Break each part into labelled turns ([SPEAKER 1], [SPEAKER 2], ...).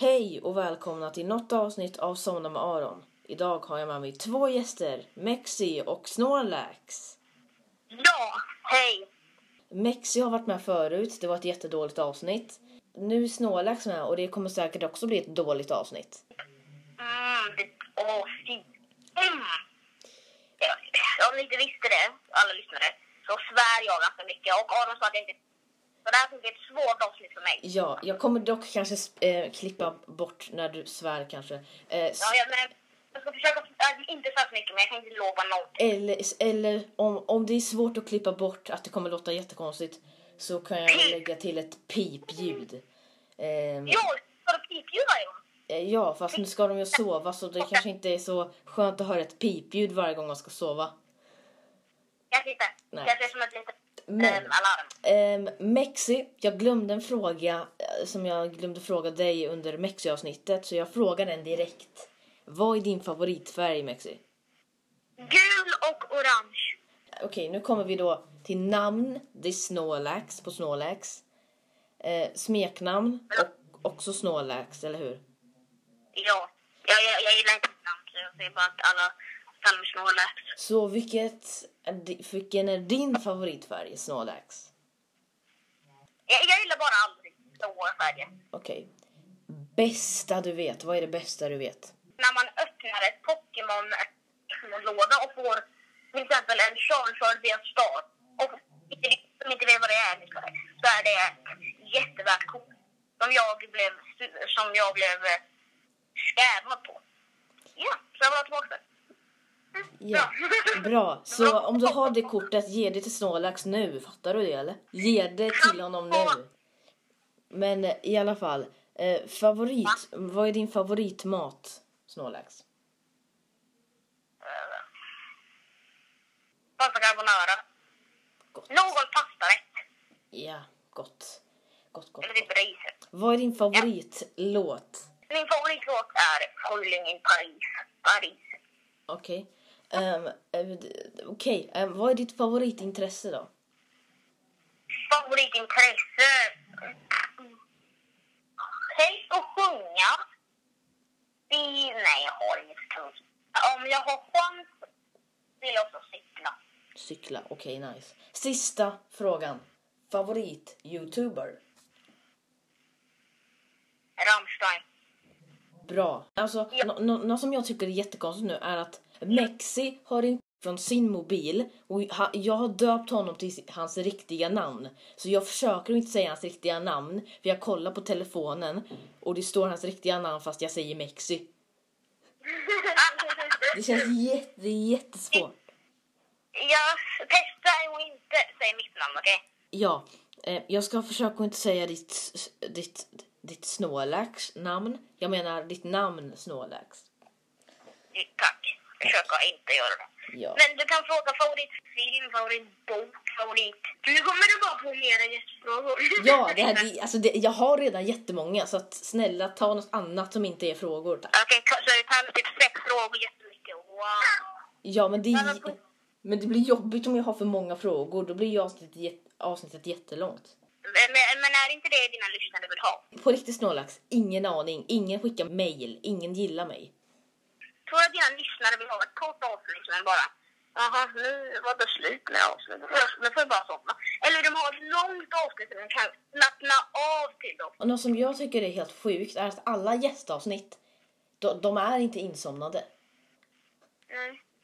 [SPEAKER 1] Hej och välkomna till något avsnitt av Somna med Aron. Idag har jag med mig två gäster, Mexi och Snorlax.
[SPEAKER 2] Ja, hej.
[SPEAKER 1] Mexi har varit med förut, det var ett jättedåligt avsnitt. Nu är Snorlax med och det kommer säkert också bli ett dåligt avsnitt.
[SPEAKER 2] Mm, det, åh, fy. Mm. Ja, Om ni inte visste det, alla lyssnare, så svär jag ganska mycket. Och Aron sa att jag inte... Så det här kommer bli ett svårt avsnitt för mig.
[SPEAKER 1] Ja, jag kommer dock kanske sp- eh, klippa bort när du svär kanske. Eh, s-
[SPEAKER 2] Ja, jag, men, jag ska försöka äh, inte svär så mycket, men jag kan inte lova någonting.
[SPEAKER 1] Eller, eller om, om det är svårt att klippa bort att det kommer låta jättekonstigt så kan jag väl lägga till ett pipljud. Ehm,
[SPEAKER 2] Jo, ska du pipljud varje gång?
[SPEAKER 1] Eh, Ja, fast nu ska de ju sova så det kanske inte är så skönt att höra ett pipljud varje gång man ska sova.
[SPEAKER 2] Kanske inte.
[SPEAKER 1] Nej.
[SPEAKER 2] Kanske som ett litet
[SPEAKER 1] Men-
[SPEAKER 2] ehm, alarm.
[SPEAKER 1] Ehm, Mexi, jag glömde en fråga eh, som jag glömde fråga dig under Mexi-avsnittet så jag frågar den direkt. Vad är din favoritfärg Mexi?
[SPEAKER 2] Gul och orange.
[SPEAKER 1] Okej, nu kommer vi då till namn. Det är Snorlax på Snorlax. Eh, smeknamn och också Snorlax, eller hur?
[SPEAKER 2] Ja. Jag, jag, jag gillar inte namn, så jag säger bara att alla samlingsnålar.
[SPEAKER 1] Så vilket, är di- vilken är din favoritfärg Snorlax?
[SPEAKER 2] Jag, jag gillar bara aldrig blåa färger.
[SPEAKER 1] Okej. Bästa du vet. Vad är det bästa du vet?
[SPEAKER 2] när man öppnar ett Pokémon Pokémon-låda och får till exempel en Charizard via stad och inte, som inte vet vad det är liksom, så är det jättevärt coolt. Som jag blev, su- som jag blev eh, skämad på. Ja, så jag var tillbaka där. Mm,
[SPEAKER 1] Ja. Bra. Så om du har det kortet, ge det till Snorlax nu. Fattar du det eller? Ge det till honom nu. Men eh, i alla fall. Eh, favorit. Vad är din favoritmat, Snorlax?
[SPEAKER 2] Eh, Pasta carbonara.
[SPEAKER 1] Gott.
[SPEAKER 2] Någon pastarätt.
[SPEAKER 1] Ja, gott. Gott, gott.
[SPEAKER 2] Eller typ riset.
[SPEAKER 1] Vad är din favoritlåt?
[SPEAKER 2] Min favoritlåt är Fröling i Paris. Paris.
[SPEAKER 1] Okej. Ehm, eh, d- Okej, Ehm, vad är ditt favoritintresse då?
[SPEAKER 2] favoritintresse? Helst att sjunga. I, nej, jag har inget tungt. Om jag har chans vill jag också cykla.
[SPEAKER 1] Cykla, okej nice. Sista frågan. Favorit-youtuber?
[SPEAKER 2] Rammstein.
[SPEAKER 1] Bra. Alltså,
[SPEAKER 2] Ja.
[SPEAKER 1] nå- nå- något som jag tycker är jättekonstigt nu är att Mexi har ringt från sin mobil och ha- jag har döpt honom till si- hans riktiga namn. Så jag försöker inte säga hans riktiga namn för jag kollar på telefonen och det står hans riktiga namn fast jag säger Mexi. Det känns jätte, jättesvårt.
[SPEAKER 2] jag testar och inte säger mitt namn, okej?
[SPEAKER 1] Ja, eh, jag ska försöka att inte säga ditt, ditt, ditt Snorlax namn. Jag menar ditt namn Snorlax.
[SPEAKER 2] Tack. Försöker inte göra det.
[SPEAKER 1] Ja.
[SPEAKER 2] Men du kan fråga favoritfilm, favoritbok, favorit... Nu kommer du bara på mera gästfrågor.
[SPEAKER 1] Ja, det här, det, alltså det, jag har redan jättemånga så att snälla ta något annat som inte är frågor. tack.
[SPEAKER 2] Okej, så det tar typ sex frågor jättemycket. Wow.
[SPEAKER 1] Ja, men det,
[SPEAKER 2] Ja, men
[SPEAKER 1] är-
[SPEAKER 2] på-
[SPEAKER 1] men det blir jobbigt om jag har för många frågor. Då blir ju avsnittet, jät- avsnittet jättelångt.
[SPEAKER 2] Men, men är inte det dina lyssnare vill ha?
[SPEAKER 1] På riktigt Snorlax, ingen aning. Ingen skickar mejl, ingen gillar mig.
[SPEAKER 2] Tror du att dina lyssnare vill ha ett kort avsnitt men bara Jaha, nu var det slut med avsnittet. Nu får jag bara somna. Eller vill de ha ett långt avsnitt som de kan slappna av till dem.
[SPEAKER 1] Och något som jag tycker är helt sjukt är att alla gästavsnitt, de, de är inte insomnade.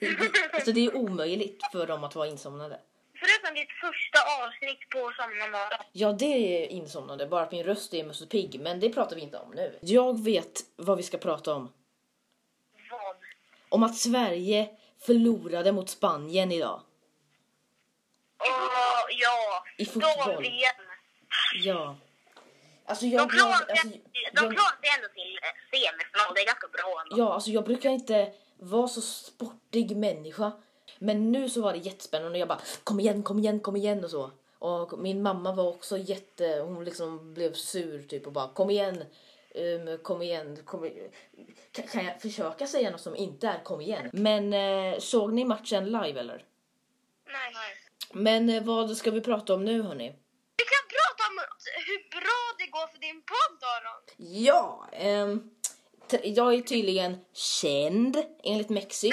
[SPEAKER 2] Mm.
[SPEAKER 1] Det, det, alltså det är omöjligt för dem att vara insomnade.
[SPEAKER 2] Förutom ditt första avsnitt på sommarmorgon.
[SPEAKER 1] Ja, det är insomnade, bara att min röst är Musse Pigg, men det pratar vi inte om nu. Jag vet vad vi ska prata om.
[SPEAKER 2] Vad?
[SPEAKER 1] Om att Sverige förlorade mot Spanien idag.
[SPEAKER 2] Åh, ja.
[SPEAKER 1] I fotboll.
[SPEAKER 2] De VM.
[SPEAKER 1] Ja. Alltså
[SPEAKER 2] De
[SPEAKER 1] jag... jag,
[SPEAKER 2] klarade
[SPEAKER 1] alltså,
[SPEAKER 2] de
[SPEAKER 1] jag
[SPEAKER 2] klarade sig ändå till eh, semifinal. Det är ganska bra ändå.
[SPEAKER 1] ja, alltså jag brukar inte vara så sportig människa. Men nu så var det jättespännande och jag bara kom igen, kom igen, kom igen och så. Och min mamma var också jätte... Hon liksom blev sur typ och bara kom igen. Um, kom igen, kom i- kan, kan jag försöka säga något som inte är kom igen? Men eh, såg ni matchen live eller?
[SPEAKER 2] Nej, nej.
[SPEAKER 1] Men eh, vad ska vi prata om nu hörni?
[SPEAKER 2] Vi kan prata om hur bra det går för din podd Aron.
[SPEAKER 1] Ja, ehm, t- jag är tydligen känd enligt Mexi.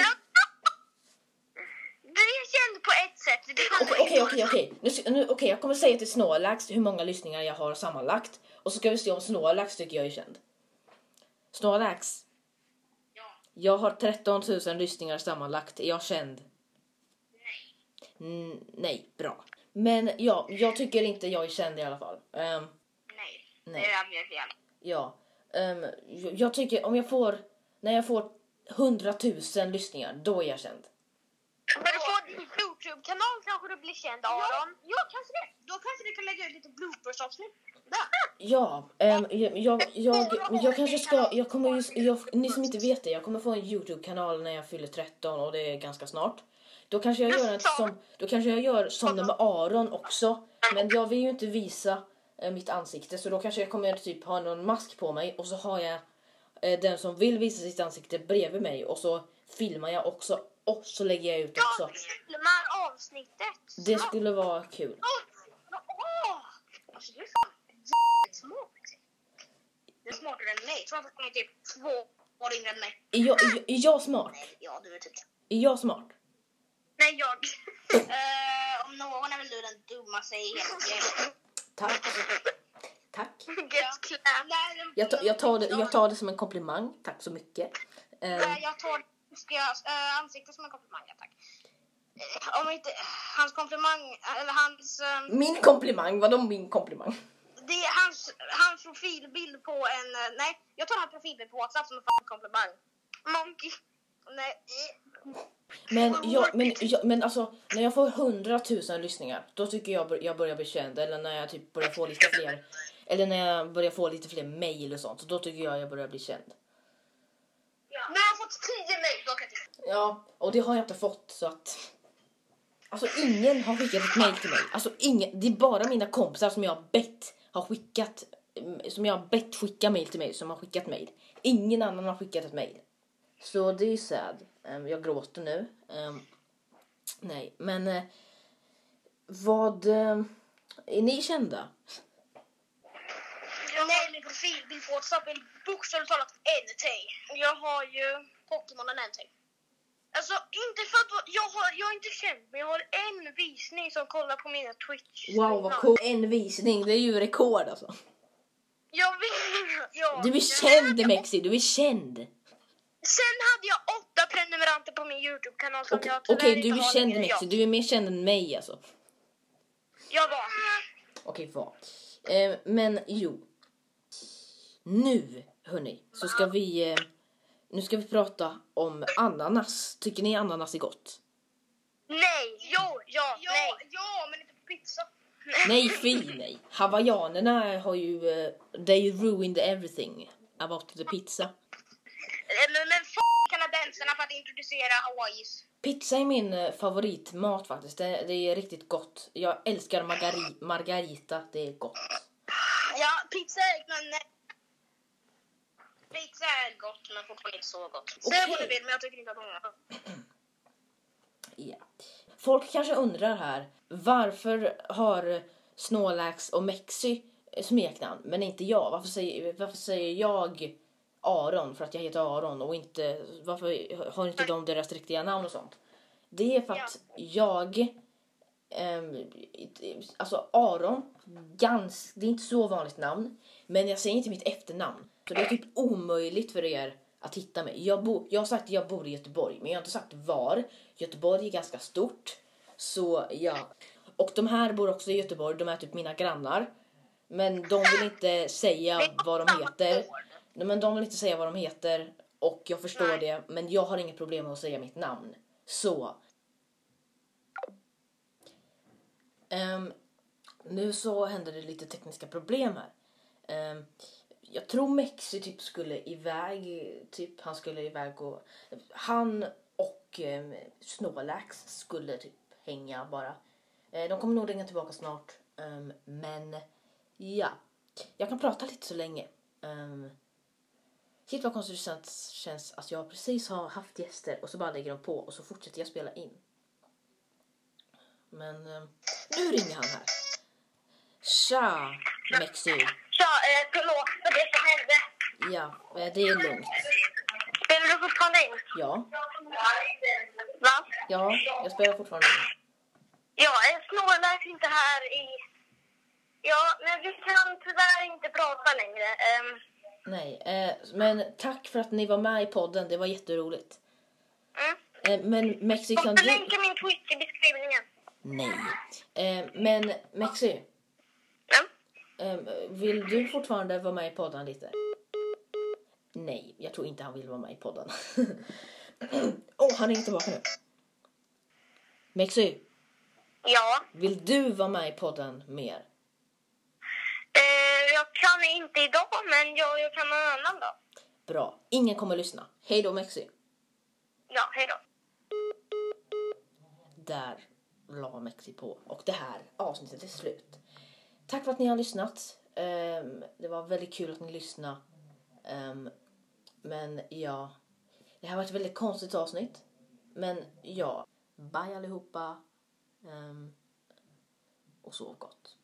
[SPEAKER 2] Du är känd på ett sätt. Det är
[SPEAKER 1] Okej, okej, okej, okej. Nu ska- nu- Okej, jag kommer säga till Snorlax hur många lyssningar jag har sammanlagt. Och så ska vi se om Snorlax tycker jag är känd. Snorlax,
[SPEAKER 2] Ja,
[SPEAKER 1] jag har 13 000 lyssningar sammanlagt. Är jag känd?
[SPEAKER 2] nej.
[SPEAKER 1] Mm, nej, bra. Men ja, jag tycker inte jag är känd i alla fall. Ehm,
[SPEAKER 2] Nej.
[SPEAKER 1] Nej.
[SPEAKER 2] Det är mer fel.
[SPEAKER 1] ja, Ehm, jag- jag tycker om jag får, när jag får 100 000 lyssningar, då är jag känd.
[SPEAKER 2] När du får din Youtube-kanal kanske du blir känd Aron. Ja, kanske det. Då kanske du kan lägga ut lite bloopers-avsnitt.
[SPEAKER 1] Ja, ehm, jag, jag, jag, jag kanske ska, jag kommer ju, jag, ni som inte vet det, jag kommer få en Youtube-kanal när jag fyller 13 och det är ganska snart. Då kanske jag gör en som, då kanske jag gör som den med Aron också. Men jag vill ju inte visa eh, mitt ansikte så då kanske jag kommer typ ha någon mask på mig och så har jag eh, den som vill visa sitt ansikte bredvid mig och så filmar jag också och så lägger jag ut också.
[SPEAKER 2] Jag filmar avsnittet.
[SPEAKER 1] Det skulle vara kul.
[SPEAKER 2] Åh! Alltså du är fan jävligt smart. Du är smartare än mig. Jag tror att du är typ två år yngre än mig.
[SPEAKER 1] Är jag, är jag- är jag smart?
[SPEAKER 2] Nej, ja du är typ...
[SPEAKER 1] Är jag smart?
[SPEAKER 2] Nej, jag. Eh, om någon är väl du den dummaste i hela gänget.
[SPEAKER 1] Tack. Tack.
[SPEAKER 2] Get clam.
[SPEAKER 1] Jag, ta, jag, tar det, jag tar det som en komplimang, tack så mycket. Eh,
[SPEAKER 2] Eh, Jag tar Ska- eh, ansiktet som en komplimang, ja, tack. Eh, Om inte... Hans komplimang, eller hans... ehm,
[SPEAKER 1] min komplimang, vadå min komplimang?
[SPEAKER 2] Det är hans, hans profilbild på en... eh, Nej, jag tar hans profilbild på WhatsApp som en fan komplimang. Monkey. Nej. eh.
[SPEAKER 1] Men, jag, men, jag, men alltså, när jag får 100 000 lyssningar, då tycker jag bör- jag börjar bli känd. Eller när jag typ börjar få lite fler, eller när jag börjar få lite fler mejl och sånt, då tycker jag jag börjar bli känd.
[SPEAKER 2] När jag har fått 10 mejl då kan jag tycka-
[SPEAKER 1] Ja, och det har jag inte fått så att... Alltså ingen har skickat ett mejl till mig. Alltså ingen, det är bara mina kompisar som jag har bett har skickat, som jag har bett skicka mejl till mig som har skickat mejl. Ingen annan har skickat ett mejl. Så det är sad. Ehm, Jag gråter nu. Ehm, Nej, men eh, vad... ehm, Är ni kända?
[SPEAKER 2] Nej, min profilbild på WhatsApp är bokstavligt talat NT. Jag har ju Pokémonen NT. Alltså inte för att vara- jag, har, jag är inte känd men jag har en visning som kollar på mina Twitch.
[SPEAKER 1] Wow vad cool. En visning, det är ju rekord alltså.
[SPEAKER 2] Jag vet, ja.
[SPEAKER 1] Du är känd Mexi, du är känd.
[SPEAKER 2] Sen hade jag åtta prenumeranter på min Youtube-kanal som
[SPEAKER 1] Okej,
[SPEAKER 2] jag tyvärr
[SPEAKER 1] okej, du
[SPEAKER 2] inte
[SPEAKER 1] är
[SPEAKER 2] har
[SPEAKER 1] känd
[SPEAKER 2] längre.
[SPEAKER 1] Mexi, du är mer känd än mig alltså.
[SPEAKER 2] Jag var.
[SPEAKER 1] Okej, vad? Eh, men jo. Nu, hörni, så ska vi... Eh, nu ska vi prata om ananas. Tycker ni ananas är gott?
[SPEAKER 2] Nej, jo, ja, nej. Ja, men inte på pizza.
[SPEAKER 1] Nej, fy nej. Hawaiianerna har ju... Eh, they ruined everything about the pizza.
[SPEAKER 2] Eh, Men, men f*** kanadensarna för att introducera Hawaiis.
[SPEAKER 1] Pizza är min eh, favoritmat faktiskt. Det, det är riktigt gott. Jag älskar margari, margarita. Det är gott.
[SPEAKER 2] Ja, pizza är men... Pizza är gott, men fortfarande inte så gott.
[SPEAKER 1] Okej.
[SPEAKER 2] Säg vad du vill, men jag tycker inte att många...
[SPEAKER 1] Ja. Folk kanske undrar här, varför har Snorlax och Mexi smeknamn men inte jag? Varför säger, varför säger jag Aron för att jag heter Aron och inte, varför har inte de deras riktiga namn och sånt? Det är för att jag, ehm, alltså Aron, gans, det är inte så vanligt namn men jag säger inte mitt efternamn. Så det är typ omöjligt för er att hitta mig. Jag, bo, jag har sagt att jag bor i Göteborg men jag har inte sagt var. Göteborg är ganska stort. Så ja. Och de här bor också i Göteborg, de är typ mina grannar. Men de vill inte säga vad de heter. Nej, men de vill inte säga vad de heter och jag förstår
[SPEAKER 2] Nej.
[SPEAKER 1] det men jag har inget problem med att säga mitt namn. Så. Ehm, nu så händer det lite tekniska problem här. Ehm, jag tror Mexi typ skulle iväg, typ han skulle iväg och han och um, Snorlax skulle typ hänga bara. Eh, de kommer nog ringa tillbaka snart. Ehm, men ja, jag kan prata lite så länge. Um, Shit vad konstigt det känns, känns att jag precis har haft gäster och så bara lägger de på och så fortsätter jag spela in. Men eh, nu ringer han här. Tja! Mexur.
[SPEAKER 2] Så, eh, förlåt för det som hände.
[SPEAKER 1] Ja, eh, det är lugnt.
[SPEAKER 2] Spelar du fortfarande in?
[SPEAKER 1] Ja,
[SPEAKER 2] Va?
[SPEAKER 1] ja, jag spelar fortfarande.
[SPEAKER 2] Ja, jag snålar inte här i... Ja, men vi kan tyvärr inte prata längre. Ehm,
[SPEAKER 1] Nej, eh, men tack för att ni var med i podden. Det var jätteroligt.
[SPEAKER 2] mm.
[SPEAKER 1] Eh, men Mexi, kan
[SPEAKER 2] Jag
[SPEAKER 1] du...
[SPEAKER 2] länkar min Twitch i beskrivningen.
[SPEAKER 1] Nej. Eh, men Mexi,
[SPEAKER 2] Mm.
[SPEAKER 1] eh, vill du fortfarande vara med i podden lite? Nej, jag tror inte han vill vara med i podden. Åh, han ringer tillbaka nu. Mexi,
[SPEAKER 2] Ja,
[SPEAKER 1] vill du vara med i podden mer?
[SPEAKER 2] eh, jag kan inte idag, men jag, jag kan någon annan dag.
[SPEAKER 1] Bra. Ingen kommer lyssna. Hej då Mexi.
[SPEAKER 2] Ja, hej då.
[SPEAKER 1] Där la Mexi på. Och det här avsnittet är slut. Tack för att ni har lyssnat. Ehm, det var väldigt kul att ni lyssnade. Ehm, men ja, det här var ett väldigt konstigt avsnitt. Men ja, bye allihopa. Ehm, och sov gott.